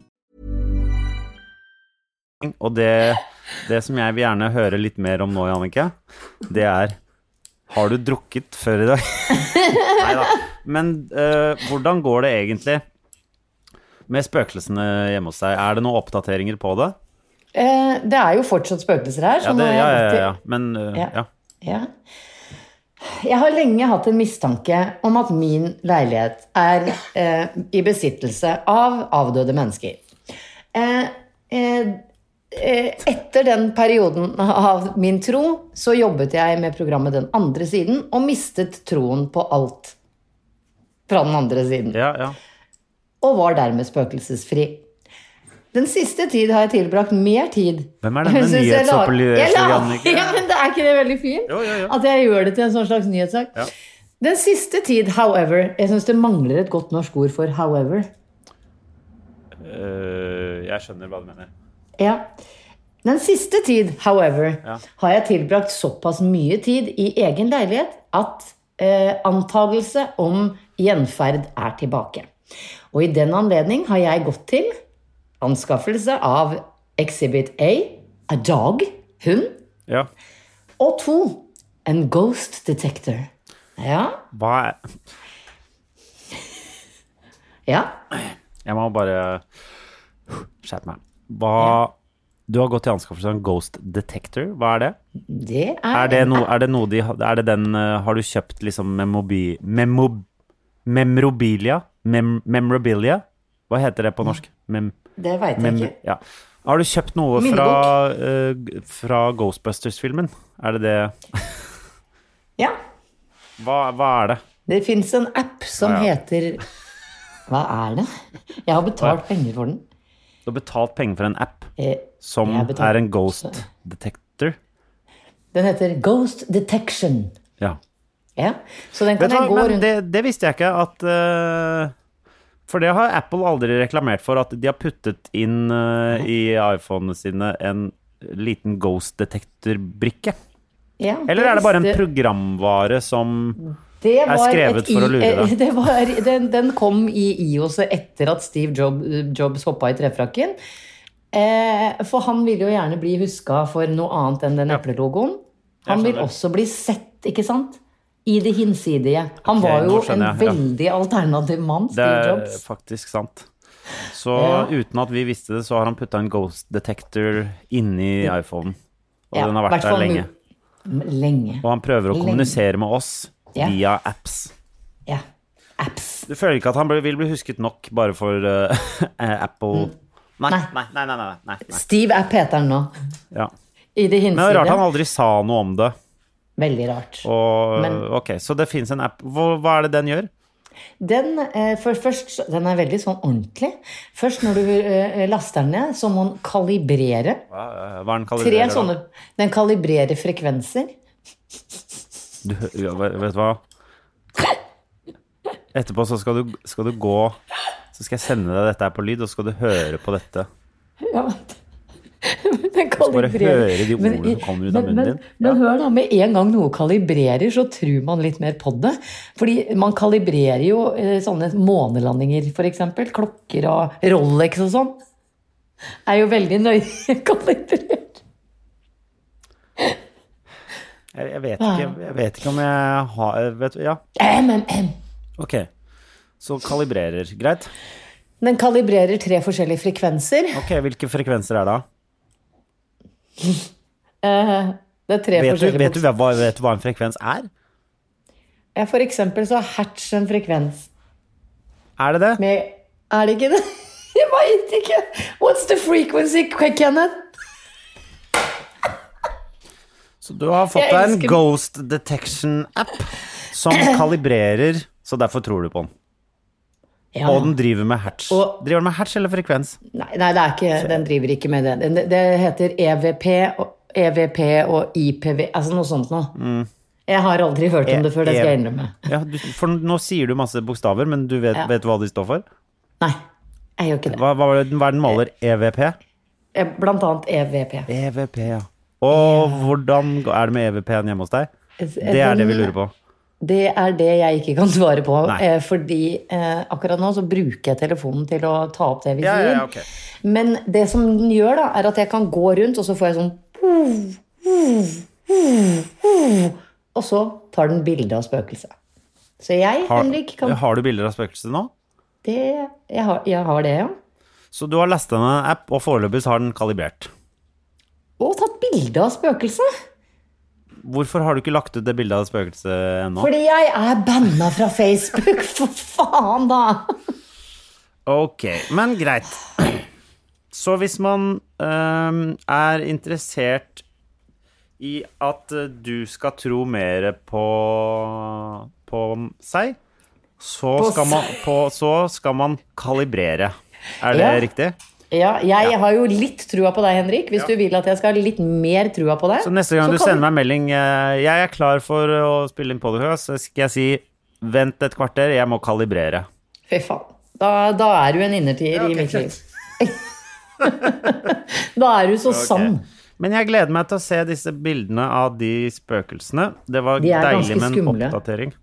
S1: Og det, det som jeg vil gjerne høre litt mer om nå, Jannicke, det er Har du drukket før i dag? Nei da. Men eh, hvordan går det egentlig med spøkelsene hjemme hos deg? Er det noen oppdateringer på det?
S2: Eh, det er jo fortsatt spøkelser her.
S1: Ja,
S2: så nå
S1: det,
S2: Sånn har
S1: ja,
S2: jeg
S1: ja,
S2: alltid-
S1: ja. Men eh,
S2: Ja.
S1: ja.
S2: Ja. Jeg har lenge hatt en mistanke om at min leilighet er eh, i besittelse av avdøde mennesker. Eh, eh, eh, etter den perioden av min tro, så jobbet jeg med programmet Den andre siden, og mistet troen på alt fra den andre siden
S1: ja, ja.
S2: og var dermed spøkelsesfri. Den siste tid har jeg tilbrakt mer tid
S1: Hvem er denne
S2: Jeg synes jeg la-
S1: nyhetsopplevelsen,
S2: jeg la-
S1: Jannicke?
S2: Ja, men det Er ikke det veldig fint?
S1: Jo, jo, jo.
S2: At jeg gjør det til en sånn slags nyhetssak?
S1: Ja.
S2: Den siste tid, however Jeg syns det mangler et godt norsk ord for 'however'.
S1: Eh, jeg skjønner hva du mener.
S2: Ja. Den siste tid, however, har jeg tilbrakt såpass mye tid i egen leilighet at eh, antagelse om gjenferd er tilbake. Og i den anledning har jeg gått til anskaffelse av Exhibit A, a dog, hund,
S1: Ja.
S2: og to, en ghost detector. Ja,
S1: Hva er
S2: ja.
S1: Jeg må bare skjerpe meg. Hva Du har gått til anskaffelse av en Ghost Detector. Hva er det?
S2: Det er,
S1: Er det, no, er det noe de ha- Er det den eh, Har du kjøpt liksom memobi, memo, Memrobilia? Mem, memorabilia? Hva heter det på norsk? Mem,
S2: Det veit jeg
S1: mem,
S2: Mm. ikke.
S1: ja. Har du kjøpt noe fra, eh, g- fra Ghostbusters-filmen? Er det det
S2: Ja.
S1: Hva, hva er det?
S2: Det fins en app som
S1: Ja, ja.
S2: heter Hva er det? Jeg har betalt penger for den.
S1: Du har betalt penger for en app
S2: Eh,
S1: som
S2: Jeg har betalt-
S1: er en Ghost Detector?
S2: Den heter Ghost Detection.
S1: Ja.
S2: Ja. Så den kan
S1: Vet du
S2: jeg gå
S1: hva, men
S2: rundt
S1: det, det visste jeg ikke at eh, For det har Apple aldri reklamert for, at de har puttet inn eh, i iPhonene sine en liten ghost detector-brikke.
S2: ja,
S1: Eller er det bare en
S2: visste-
S1: programvare som
S2: Det
S1: er
S2: var
S1: skrevet
S2: et
S1: for å lure
S2: eh,
S1: deg?
S2: Det var, den, den kom i IOS-et etter at Steve Job, Jobs hoppa i trefrakken. Eh, for han ville jo gjerne bli huska for noe annet enn den eplelogoen. Han
S1: Jeg
S2: vil
S1: skjønner.
S2: også bli sett, ikke sant? I det hinsidige. Han
S1: Ok,
S2: var jo
S1: nå skjønner
S2: en
S1: jeg, ja.
S2: veldig alternativ mann,
S1: Det
S2: Steve
S1: er
S2: Jobs.
S1: faktisk sant. Så
S2: Ja.
S1: uten at vi visste det, så har han putta en ghost detector inni iPhonen. Og
S2: Ja,
S1: den har vært
S2: hvert fall
S1: der lenge.
S2: mu- Lenge.
S1: Og han prøver å
S2: Lenge.
S1: kommunisere med oss
S2: Ja.
S1: via apps.
S2: Ja. Apps.
S1: Du føler ikke at han ble- vil bli husket nok bare for eh, Apple nei, nei, nei, nei, nei, nei, nei.
S2: Steve App heter han nå.
S1: Ja.
S2: I
S1: Men
S2: det
S1: det er
S2: hinsidige.
S1: rart han aldri sa noe om det.
S2: Veldig rart.
S1: Og, eh,
S2: Men-
S1: ok, Så det fins en app. Hva, hva er det den gjør?
S2: Den, eh, for, først, den er veldig sånn ordentlig. Først når du eh, laster den ned, så må den kalibrere.
S1: Hva, eh, hva er den kalibrerer
S2: Tre
S1: da?
S2: sånne Den kalibrerer frekvenser.
S1: Du, ja, vet vet du hva? Etterpå så skal du, skal du gå Så skal jeg sende deg dette her på lyd, og så skal du høre på dette.
S2: Ja, men den
S1: skal bare
S2: kalibrerer.
S1: høre de
S2: Men
S1: ordene
S2: i-
S1: som kommer ut av
S2: men-
S1: munnen
S2: men-
S1: din.
S2: Men hør da, med en gang noe kalibrerer, så tror man litt mer på det. Fordi man kalibrerer jo eh, sånne månelandinger, for eksempel. Klokker og Rolex og sånn. Er jo veldig nøye kalibrert.
S1: Jeg, jeg, vet ikke,
S2: Ah.
S1: jeg vet ikke om jeg har vet, du- Ja,
S2: MMM.
S1: ok. Så kalibrerer. Greit.
S2: Den kalibrerer tre forskjellige frekvenser.
S1: Ok, Hvilke frekvenser er det? da?
S2: Eh, Det er tre
S1: Vet du,
S2: forskjellige
S1: vet, du,
S2: bokstaver.
S1: hva, vet du hva en frekvens er?
S2: Ja, for eksempel så har hertz en frekvens
S1: Er det det?
S2: med Er det ikke det? Jeg veit ikke! What's the frequency, Kenneth?
S1: Så du har fått
S2: Jeg
S1: deg en
S2: elsker-
S1: ghost detection-app som kalibrerer, så derfor tror du på den.
S2: Ja.
S1: Og den driver med hatch.
S2: Og-
S1: Driver den med hatch eller frekvens?
S2: Nei, nei det er ikke, den driver ikke med det. Den, det heter EVP og, EVP og IPV, altså noe sånt noe.
S1: Mm.
S2: Jeg har aldri hørt
S1: E-
S2: om det før, det skal jeg innrømme.
S1: Ja, du, for nå sier du masse bokstaver, men du vet,
S2: Ja.
S1: vet du hva de står for?
S2: Nei, jeg gjør ikke det.
S1: Hva, hva, er det den- E hva er den måler? EVP?
S2: Eh, Blant annet EVP.
S1: EVP, E ja. Og hvordan går- er det med E EVP-en hjemme hos deg? Det er det vi lurer på.
S2: Det er det jeg ikke kan svare på.
S1: Nei.
S2: eh, Fordi eh, akkurat nå så bruker jeg telefonen til å ta opp det vi
S1: Ja,
S2: sier.
S1: ja, ja, ok.
S2: Men det som den gjør, da, er at jeg kan gå rundt, og så får jeg sånn Og så tar den bilde av spøkelset. Så jeg,
S1: Har,
S2: Henrik, kan
S1: har du bilder av spøkelset nå?
S2: det, jeg, har, jeg har det, ja.
S1: Så du har lasta ned en app, og foreløpig så har den kalibrert.
S2: Og tatt bilde av spøkelset!
S1: Hvorfor har du ikke lagt ut det bildet av spøkelset ennå?
S2: Fordi jeg er banna fra Facebook! For faen, da!
S1: Ok, men greit. Så hvis man øhm, er interessert i at øh, du skal tro mer på, på seg, så, skal man, på, så skal man kalibrere. Er det
S2: Ja.
S1: riktig?
S2: Ja, jeg har jo litt trua på deg, Henrik. Hvis du vil at jeg skal ha litt mer trua på deg.
S1: Så neste gang
S2: så
S1: du
S2: kan-
S1: sender meg melding øh, 'Jeg er klar for å spille inn podcast', så skal jeg si 'Vent et kvarter, jeg må kalibrere'.
S2: Fy faen. Da, da er du en innertier i mitt liv. da er du så sann.
S1: Men jeg gleder meg til å se disse bildene av de spøkelsene. Det var
S2: De er
S1: deilig
S2: ganske
S1: med en
S2: skumle.
S1: oppdatering.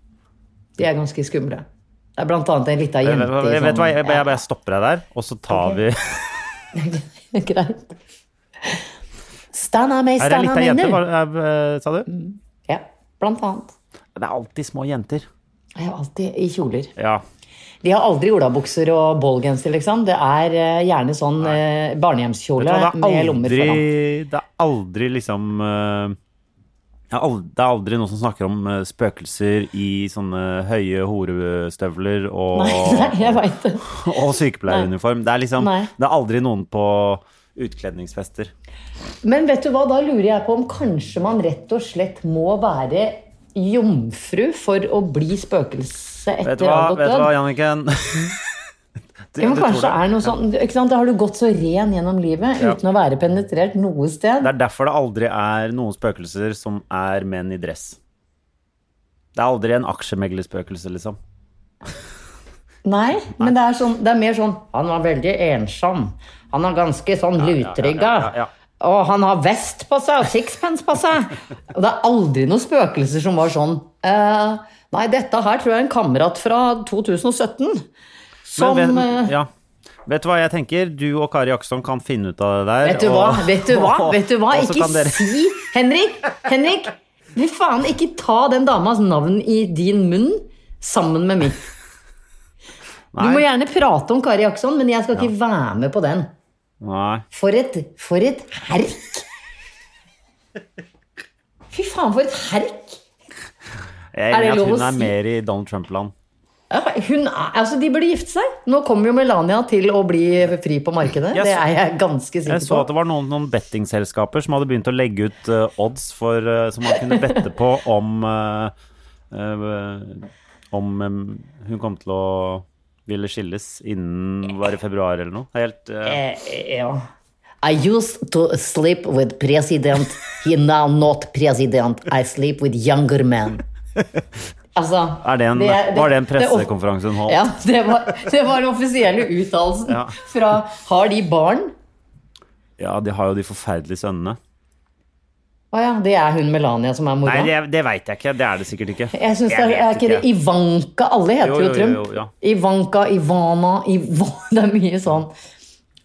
S2: De er ganske skumle. Det er blant annet en lita
S1: Jeg, jeg,
S2: jente i
S1: jeg, vet
S2: sånn-
S1: Eh, hva, jeg, jeg bare stopper deg der, og så tar vi
S2: Ja, Greit. Stanna meg,
S1: Er det ei
S2: stanna
S1: lita
S2: meg
S1: jente,
S2: nå!
S1: var, er- eh, sa du?
S2: Ja, blant annet.
S1: Det er alltid små jenter.
S2: Jeg er alltid i kjoler.
S1: Ja.
S2: De har aldri olabukser og ballgenser, liksom. Det er eh, gjerne sånn eh,
S1: Vet
S2: barnehjemskjole
S1: du hva, det
S2: med
S1: er
S2: lommer
S1: aldri
S2: foran.
S1: Det er aldri liksom eh, det er aldri, det er aldri noen som snakker om eh, spøkelser i sånne høye horestøvler og,
S2: Nei, nei, jeg veit det.
S1: og sykepleieruniform. Det er liksom
S2: Nei.
S1: Det er aldri noen på utkledningsfester.
S2: Men vet du hva, da lurer jeg på om kanskje man rett og slett må være jomfru for å bli spøkelse etter
S1: Vet du hva,
S2: avgått
S1: vet du
S2: død.
S1: hva Janniken? Du-
S2: Mm. Ja, men
S1: du tror
S2: kanskje
S1: det.
S2: er det noe sånn, ikke sant? Da har du gått så ren gjennom livet
S1: Ja.
S2: uten å være penetrert noe sted.
S1: Det er derfor det aldri er noen spøkelser som er menn i dress. Det er aldri en aksjemeglerspøkelse, liksom.
S2: Nei, men det er, sånn, det er mer sånn Han var veldig ensom. Han er ganske sånn lutrygga.
S1: ja, ja, ja.
S2: Og han har vest på seg og sixpence på seg. Og det er aldri noen spøkelser som var sånn eh, Nei, dette her tror jeg er en kamerat fra 2017. Som
S1: Men
S2: eh,
S1: vet, ja. vet du hva jeg tenker? Du og Kari Akson kan finne ut av det der.
S2: Vet du hva?
S1: og-
S2: Vet du hva?
S1: og-
S2: Vet du hva?
S1: og så
S2: Ikke
S1: kan dere-
S2: si Henrik! Henrik! Fy faen, ikke ta den damas navn i din munn sammen med mitt. Du må
S1: Nei.
S2: gjerne prate om Kari Jackson, men jeg skal ikke være med på den.
S1: Nei.
S2: For et, for et herk! Fy faen, for et herk!
S1: Jeg
S2: Er det
S1: er enig i
S2: lov å
S1: at hun er
S2: si?
S1: mer i Donald Trump-land.
S2: Ja, Hun er, altså, de burde gifte seg. Nå kommer jo Melania til å bli fri på markedet.
S1: Jeg
S2: Det
S1: så-
S2: er jeg ganske
S1: Jeg
S2: sikker
S1: så
S2: på.
S1: at det var noen, noen bettingselskaper som hadde begynt å legge ut eh, odds for, eh, som man kunne bette på om eh, eh, Om eh, hun kom til å ville skilles innen var i februar eller noe. Det er Helt, eh,
S2: Eh, ja. I used to sleep with president. He now not president. I sleep with younger men. Altså,
S1: er det en, var det en pressekonferanse hun holdt?
S2: Ja, det var, det var den offisielle uttalelsen
S1: Ja.
S2: fra Har de barn?
S1: Ja, de har jo de forferdelige sønnene.
S2: Å ja, det er hun Melania som er mora.
S1: Nei, det, det veit jeg ikke. Det er det sikkert ikke.
S2: jeg synes det er,
S1: vet
S2: er ikke det Ivanka Alle heter
S1: Jo,
S2: jo,
S1: jo, jo,
S2: Trump.
S1: jo, ja.
S2: Ivanka, Ivana, Iva, Det er mye sånn.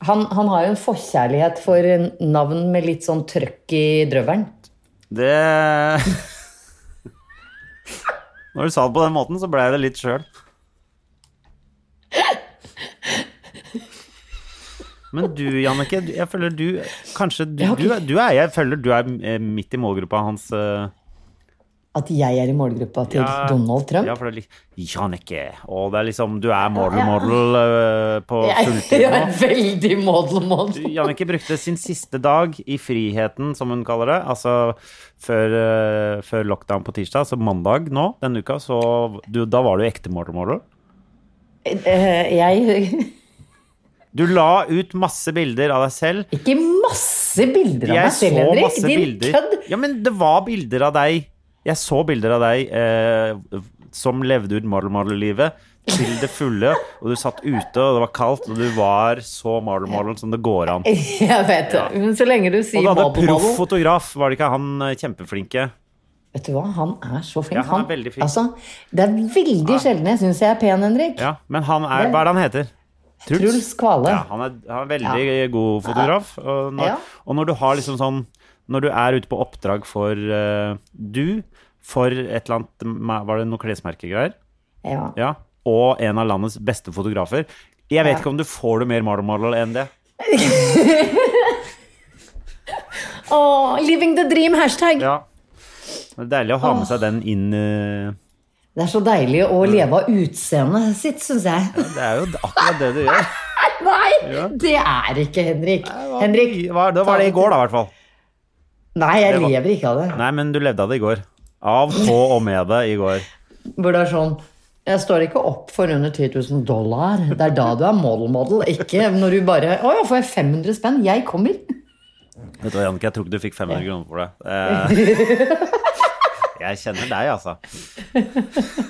S2: Han, han har jo en forkjærlighet for navn med litt sånn trøkk i drøvelen.
S1: Det Når du sa det på den måten, så ble jeg det litt sjøl. Men du, Jannicke, du- jeg føler du Kanskje du,
S2: Ja, ok.
S1: du, du er Jeg føler du er eh, midt i målgruppa hans. eh,
S2: At jeg er i målgruppa til
S1: Ja.
S2: Donald Trump?
S1: Ja, for det er litt Jannicke. Og det er liksom Du er model-model på fulltid
S2: jeg er
S1: nå.
S2: veldig model model.
S1: Jannicke brukte sin siste dag i friheten, som hun kaller det. Altså før, eh, før lockdown på tirsdag, så mandag nå denne uka, så du, Da var du ekte model-model.
S2: Eh, Jeg
S1: Du la ut masse bilder av deg selv.
S2: Ikke masse bilder av
S1: Jeg
S2: meg selv,
S1: så
S2: Henrik.
S1: masse
S2: Din
S1: bilder.
S2: kødd.
S1: Ja, men det var bilder av deg. Jeg så bilder av deg eh, som levde ut Marl Marl-livet til det fulle. Og du satt ute, og det var kaldt, og du var så Marl Marl som det går an. Og
S2: Jeg vet det. Men så lenge du sier
S1: du hadde
S2: model
S1: proff
S2: model
S1: fotograf, var det ikke han eh, kjempeflinke?
S2: Vet du hva, han er så flink.
S1: Ja, han er veldig flink.
S2: Altså, det er veldig sjelden jeg syns jeg er pen, Henrik.
S1: Ja, men han er Hva er det han heter?
S2: Truls Kvale.
S1: Ja, han er, han er veldig god fotograf. Og når,
S2: Ja.
S1: og når du har liksom sånn Når du er ute på oppdrag for eh, du, for et eller annet Var det noe klesmerkegreier?
S2: Ja.
S1: Ja, og en av landets beste fotografer. Jeg vet ikke om du får det mer Marlon Marlon enn det.
S2: Åh, living the dream, hashtag.
S1: Ja. Det er deilig å ha med seg den inn eh,
S2: Det er så deilig å leve av utseendet sitt, syns jeg.
S1: Det er jo akkurat det du gjør.
S2: Nei, det er ikke Henrik. Henrik,
S1: Hva, det var det i går, da, i hvert fall.
S2: Nei, jeg
S1: Det var-
S2: lever ikke av det.
S1: Nei, men du levde av det i går. Av, på og med det i går.
S2: Hvor det er sånn Jeg står ikke opp for under 10 000 dollar. Det er da du er model-model, ikke når du bare Å ja, får jeg 500 spenn? Jeg kommer.
S1: Vet du hva, Jannicke, jeg tror ikke du fikk 500 kroner for det. Eh, jeg kjenner deg, altså.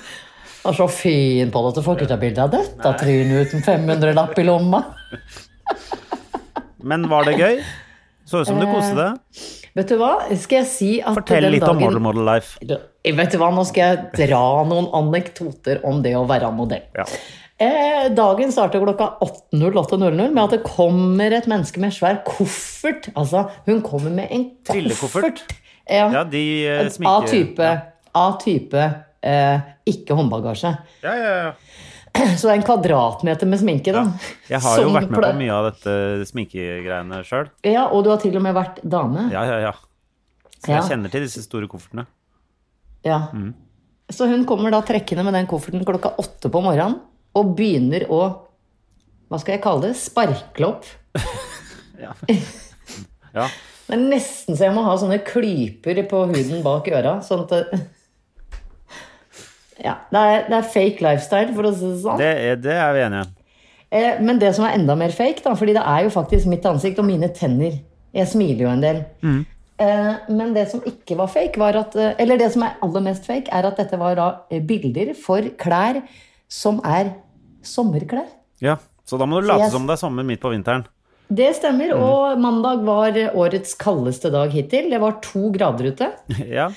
S2: Og så fin på det, du får ikke ta bilde av dette trynet uten 500-lapp i lomma.
S1: Men var det gøy? Så ut som du koste deg.
S2: Vet du hva, skal jeg si at
S1: Fortell
S2: den
S1: litt om
S2: Eh, dagen-
S1: Model Model Life.
S2: Vet du hva, nå skal jeg dra noen anekdoter om det å være modell.
S1: Ja.
S2: Eh, dagen starter klokka 8.08.00 med at det kommer et menneske med en svær koffert. Altså, hun kommer med en
S1: Trillekoffert.
S2: koffert. Ja,
S1: Ja, de eh, sminker
S2: av type, av type eh, ikke håndbagasje.
S1: Ja, ja, ja.
S2: Så det er en kvadratmeter med sminke, da.
S1: Jeg har jo
S2: Som
S1: vært med på
S2: pleier-
S1: mye av dette sminkegreiene sjøl.
S2: Ja, Og du har til og med vært dame.
S1: Ja, ja, ja. Så
S2: Ja.
S1: jeg Mm. kjenner til disse store koffertene.
S2: Ja. Så hun kommer da trekkende med den kofferten klokka åtte på morgenen og begynner å Hva skal jeg kalle det? Sparkle opp.
S1: Ja.
S2: Det er nesten så jeg må ha sånne klyper på huden bak øra. Sånn at det ja, det, er, det er fake lifestyle, for å si det sånn.
S1: Det er, det er vi enige om.
S2: Eh, men det som er enda mer fake, da, fordi det er jo faktisk mitt ansikt og mine tenner. Jeg smiler jo en del. Eh, men det som ikke var fake, var at eh, Eller det som er aller mest fake, er at dette var da eh, bilder for klær som er sommerklær.
S1: Ja. Så da må du late
S2: jeg-
S1: som det er sommer midt på vinteren.
S2: Det stemmer. Og mandag var eh, årets kaldeste dag hittil. Det var to grader ute.
S1: Ja,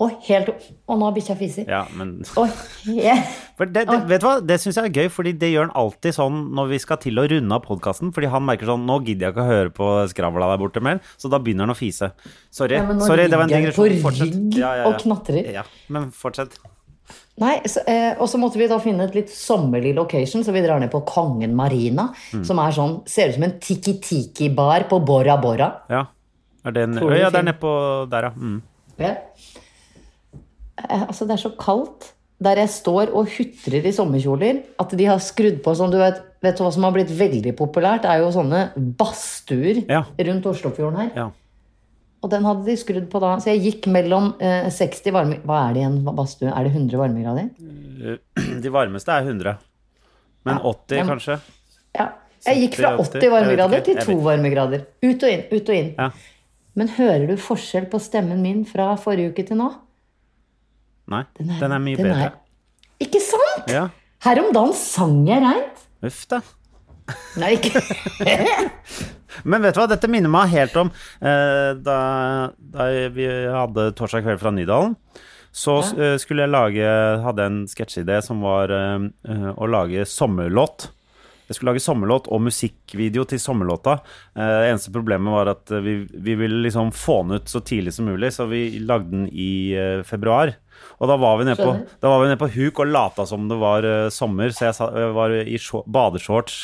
S2: Og helt Og nå har bikkja fiser.
S1: ja men
S2: Og he-
S1: For det, det, vet du hva? Det syns jeg er gøy, fordi det gjør han alltid sånn når vi skal til å runde av podkasten. Fordi han merker sånn Nå gidder jeg ikke å høre på skravla der borte mer. Så da begynner han å fise. Sorry.
S2: Ja, men nå
S1: Sorry, det var en
S2: ligger han
S1: digresjon.
S2: på rygg og knatrer.
S1: Ja, men fortsett.
S2: Nei, så, eh, og så måtte vi da finne et litt sommerlig location, så vi drar ned på Kongen Marina,
S1: Mm.
S2: som er sånn, ser ut som en tiki-tiki-bar på Bora Bora.
S1: Ja. Er det en
S2: Tror du
S1: Å ja,
S2: det
S1: det er
S2: fin-
S1: nedpå der, ja. Mm.
S2: Ja. Eh, altså, det er så kaldt der jeg står og hutrer i sommerkjoler, at de har skrudd på sånn, du vet, vet du hva som har blitt veldig populært? Det er jo sånne badstuer
S1: Ja.
S2: rundt Oslofjorden her.
S1: Ja.
S2: Og den hadde de skrudd på da, så jeg gikk mellom eh, 60 varme... Hva er det i en badstue? Er det 100 varmegrader?
S1: De varmeste er 100. Men 80,
S2: Ja.
S1: kanskje?
S2: Ja. Jeg gikk fra
S1: 70,
S2: 80 varmegrader
S1: jeg vet ikke,
S2: til
S1: jeg
S2: 2
S1: vet.
S2: varmegrader. Ut og inn, ut og inn.
S1: Ja.
S2: Men hører du forskjell på stemmen min fra forrige uke til nå?
S1: Nei, den er, mye
S2: den
S1: bedre.
S2: er- Ikke sant?
S1: Ja.
S2: Her om dagen sang jeg reint.
S1: Uff, da.
S2: Nei, ikke
S1: Men vet du hva, dette minner meg helt om eh, da, da vi hadde torsdag kveld fra Nydalen. Så eh, skulle jeg lage Hadde en sketsjeidé som var eh, eh, å lage sommerlåt. Jeg skulle lage sommerlåt og musikkvideo til sommerlåta. Eh, det eneste problemet var at eh, vi, vi ville liksom få den ut så tidlig som mulig, så vi lagde den i eh, februar. Og da var vi nede på,
S2: Skjønner.
S1: da var vi nede på huk og lata som det var eh, sommer, så jeg sa, eh, var i shor- badeshorts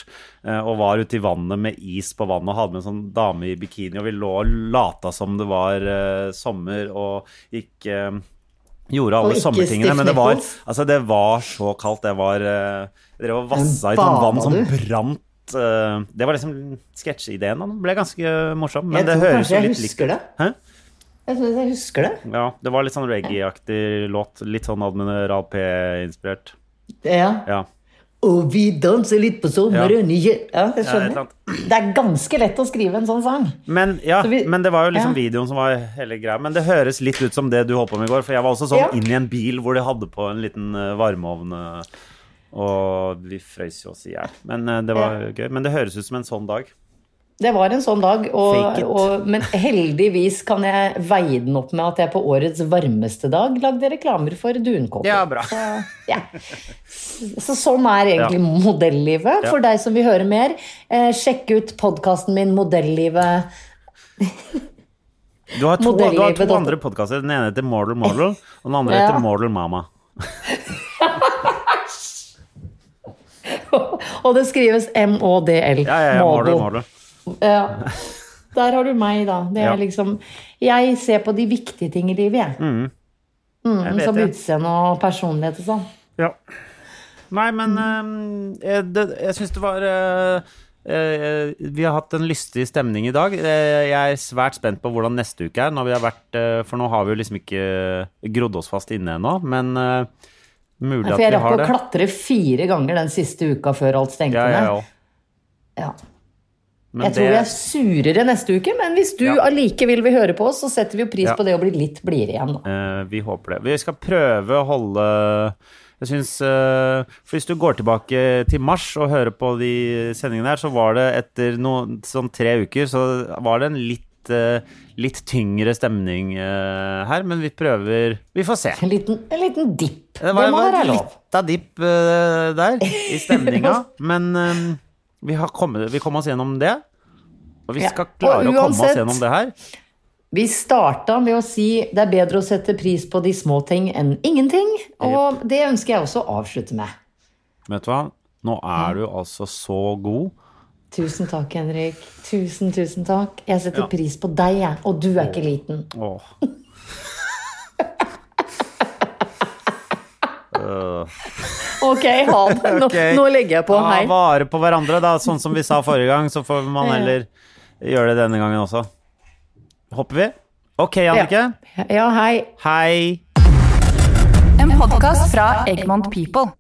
S1: eh, og var ute i vannet med is på vannet og hadde med en sånn dame i bikini, og vi lå og lata som det var eh, sommer og gikk eh, Gjorde
S2: Og
S1: alle
S2: ikke
S1: sommertingene,
S2: Stiff
S1: men det var,
S2: Nichols.
S1: altså det var så kaldt. Det var eh, Dere var vassa i sånn
S2: bada
S1: vann som
S2: du?
S1: brant. eh, Det var liksom sketsjeideen. Den ble ganske morsom, men
S2: Jeg
S1: det
S2: tror
S1: høres
S2: kanskje
S1: jo
S2: jeg
S1: litt likt
S2: husker det.
S1: Hæ?
S2: Jeg synes jeg husker det.
S1: Ja, det var litt sånn reggae-aktig låt. Litt sånn Admiral P-inspirert.
S2: Ja.
S1: Ja.
S2: Og vi danser litt på sommeren ja. ja, jeg
S1: Ja, et
S2: skjønner.
S1: eller annet.
S2: det er ganske lett å skrive en sånn sang.
S1: Men, ja,
S2: Så vi-
S1: men det var jo liksom
S2: ja.
S1: videoen som var hele greia. Men det høres litt ut som det du holdt på med i går. For jeg var også sånn
S2: Ja.
S1: inn i en bil hvor de hadde på en liten eh, varmeovn. eh, Og vi frøys jo oss i hjel. Men eh, det var gøy. Men det høres ut som en sånn dag.
S2: Det var en sånn dag, og,
S1: Fake it.
S2: og, men heldigvis kan jeg veie den opp med at jeg på årets varmeste dag lagde reklamer for dunkåper.
S1: Ja, bra.
S2: Så, ja. Så sånn er egentlig modellivet.
S1: Ja.
S2: For deg som vil høre mer, eh, sjekk ut podkasten min 'Modellivet'.
S1: Du har to, du har
S2: Modellivet
S1: to
S2: dot-
S1: andre podkaster. Den ene heter Mortal Model, og den andre
S2: Ja.
S1: heter Mortal Mama.
S2: Og det skrives M-O-D-L.
S1: Ja, ja, ja, Model,
S2: Model.
S1: Model.
S2: Ja. Der har du meg, da. Det er
S1: Ja.
S2: liksom Jeg ser på de viktige ting i livet, jeg.
S1: Mm.
S2: Mm,
S1: Jeg vet
S2: Som
S1: det.
S2: utseende og personlighet og sånn.
S1: Ja. Nei, men eh, jeg, det, jeg syns det var eh, eh, Vi har hatt en lystig stemning i dag. Eh, jeg er svært spent på hvordan neste uke er. Når vi har vært, eh, for nå har vi jo liksom ikke grodd oss fast inne ennå, men eh, mulig
S2: For
S1: at
S2: jeg
S1: vi
S2: rakk
S1: har
S2: å
S1: det.
S2: klatre fire ganger den siste uka før alt stengte
S1: Ja, ja,
S2: ned.
S1: ja.
S2: Ja.
S1: Men
S2: Jeg tror jeg er surere neste uke, men hvis du
S1: Ja.
S2: allikevel vil høre på oss, så setter vi jo pris
S1: Ja.
S2: på det å bli litt blidere igjen. Da.
S1: Eh, vi håper det. Vi skal prøve å holde Jeg syns For hvis du går tilbake til mars og hører på de sendingene her, så var det etter noen sånn tre uker, så var det en litt eh, Litt tyngre stemning eh, her, men vi prøver Vi får se.
S2: En liten, en liten dipp.
S1: Det
S2: Det
S1: var,
S2: må
S1: var
S2: være
S1: en
S2: lov.
S1: lita dipp eh, der i stemninga, men eh, vi, har kommet, vi kom oss gjennom det. Og vi
S2: Ja.
S1: skal
S2: Og
S1: klare å komme
S2: uansett-
S1: oss gjennom det her.
S2: Vi starta med å si det er bedre å sette pris på de små ting enn ingenting, og det ønsker jeg også å avslutte med.
S1: Vet du hva? Nå er du altså så god.
S2: Tusen takk, Henrik. Tusen, tusen takk. Jeg setter pris på deg, jeg. Og du er ikke liten.
S1: Åh.
S2: Ok, ha det. Nå,
S1: Ok.
S2: nå legger jeg på.
S1: Eh, Ta
S2: Hei.
S1: vare på hverandre, da. Sånn som vi sa forrige gang, så får man heller gjøre det denne gangen også. Hopper vi? Ok, Annike.
S2: Ja, hei.
S1: Hei.
S7: En podkast fra Egmont People.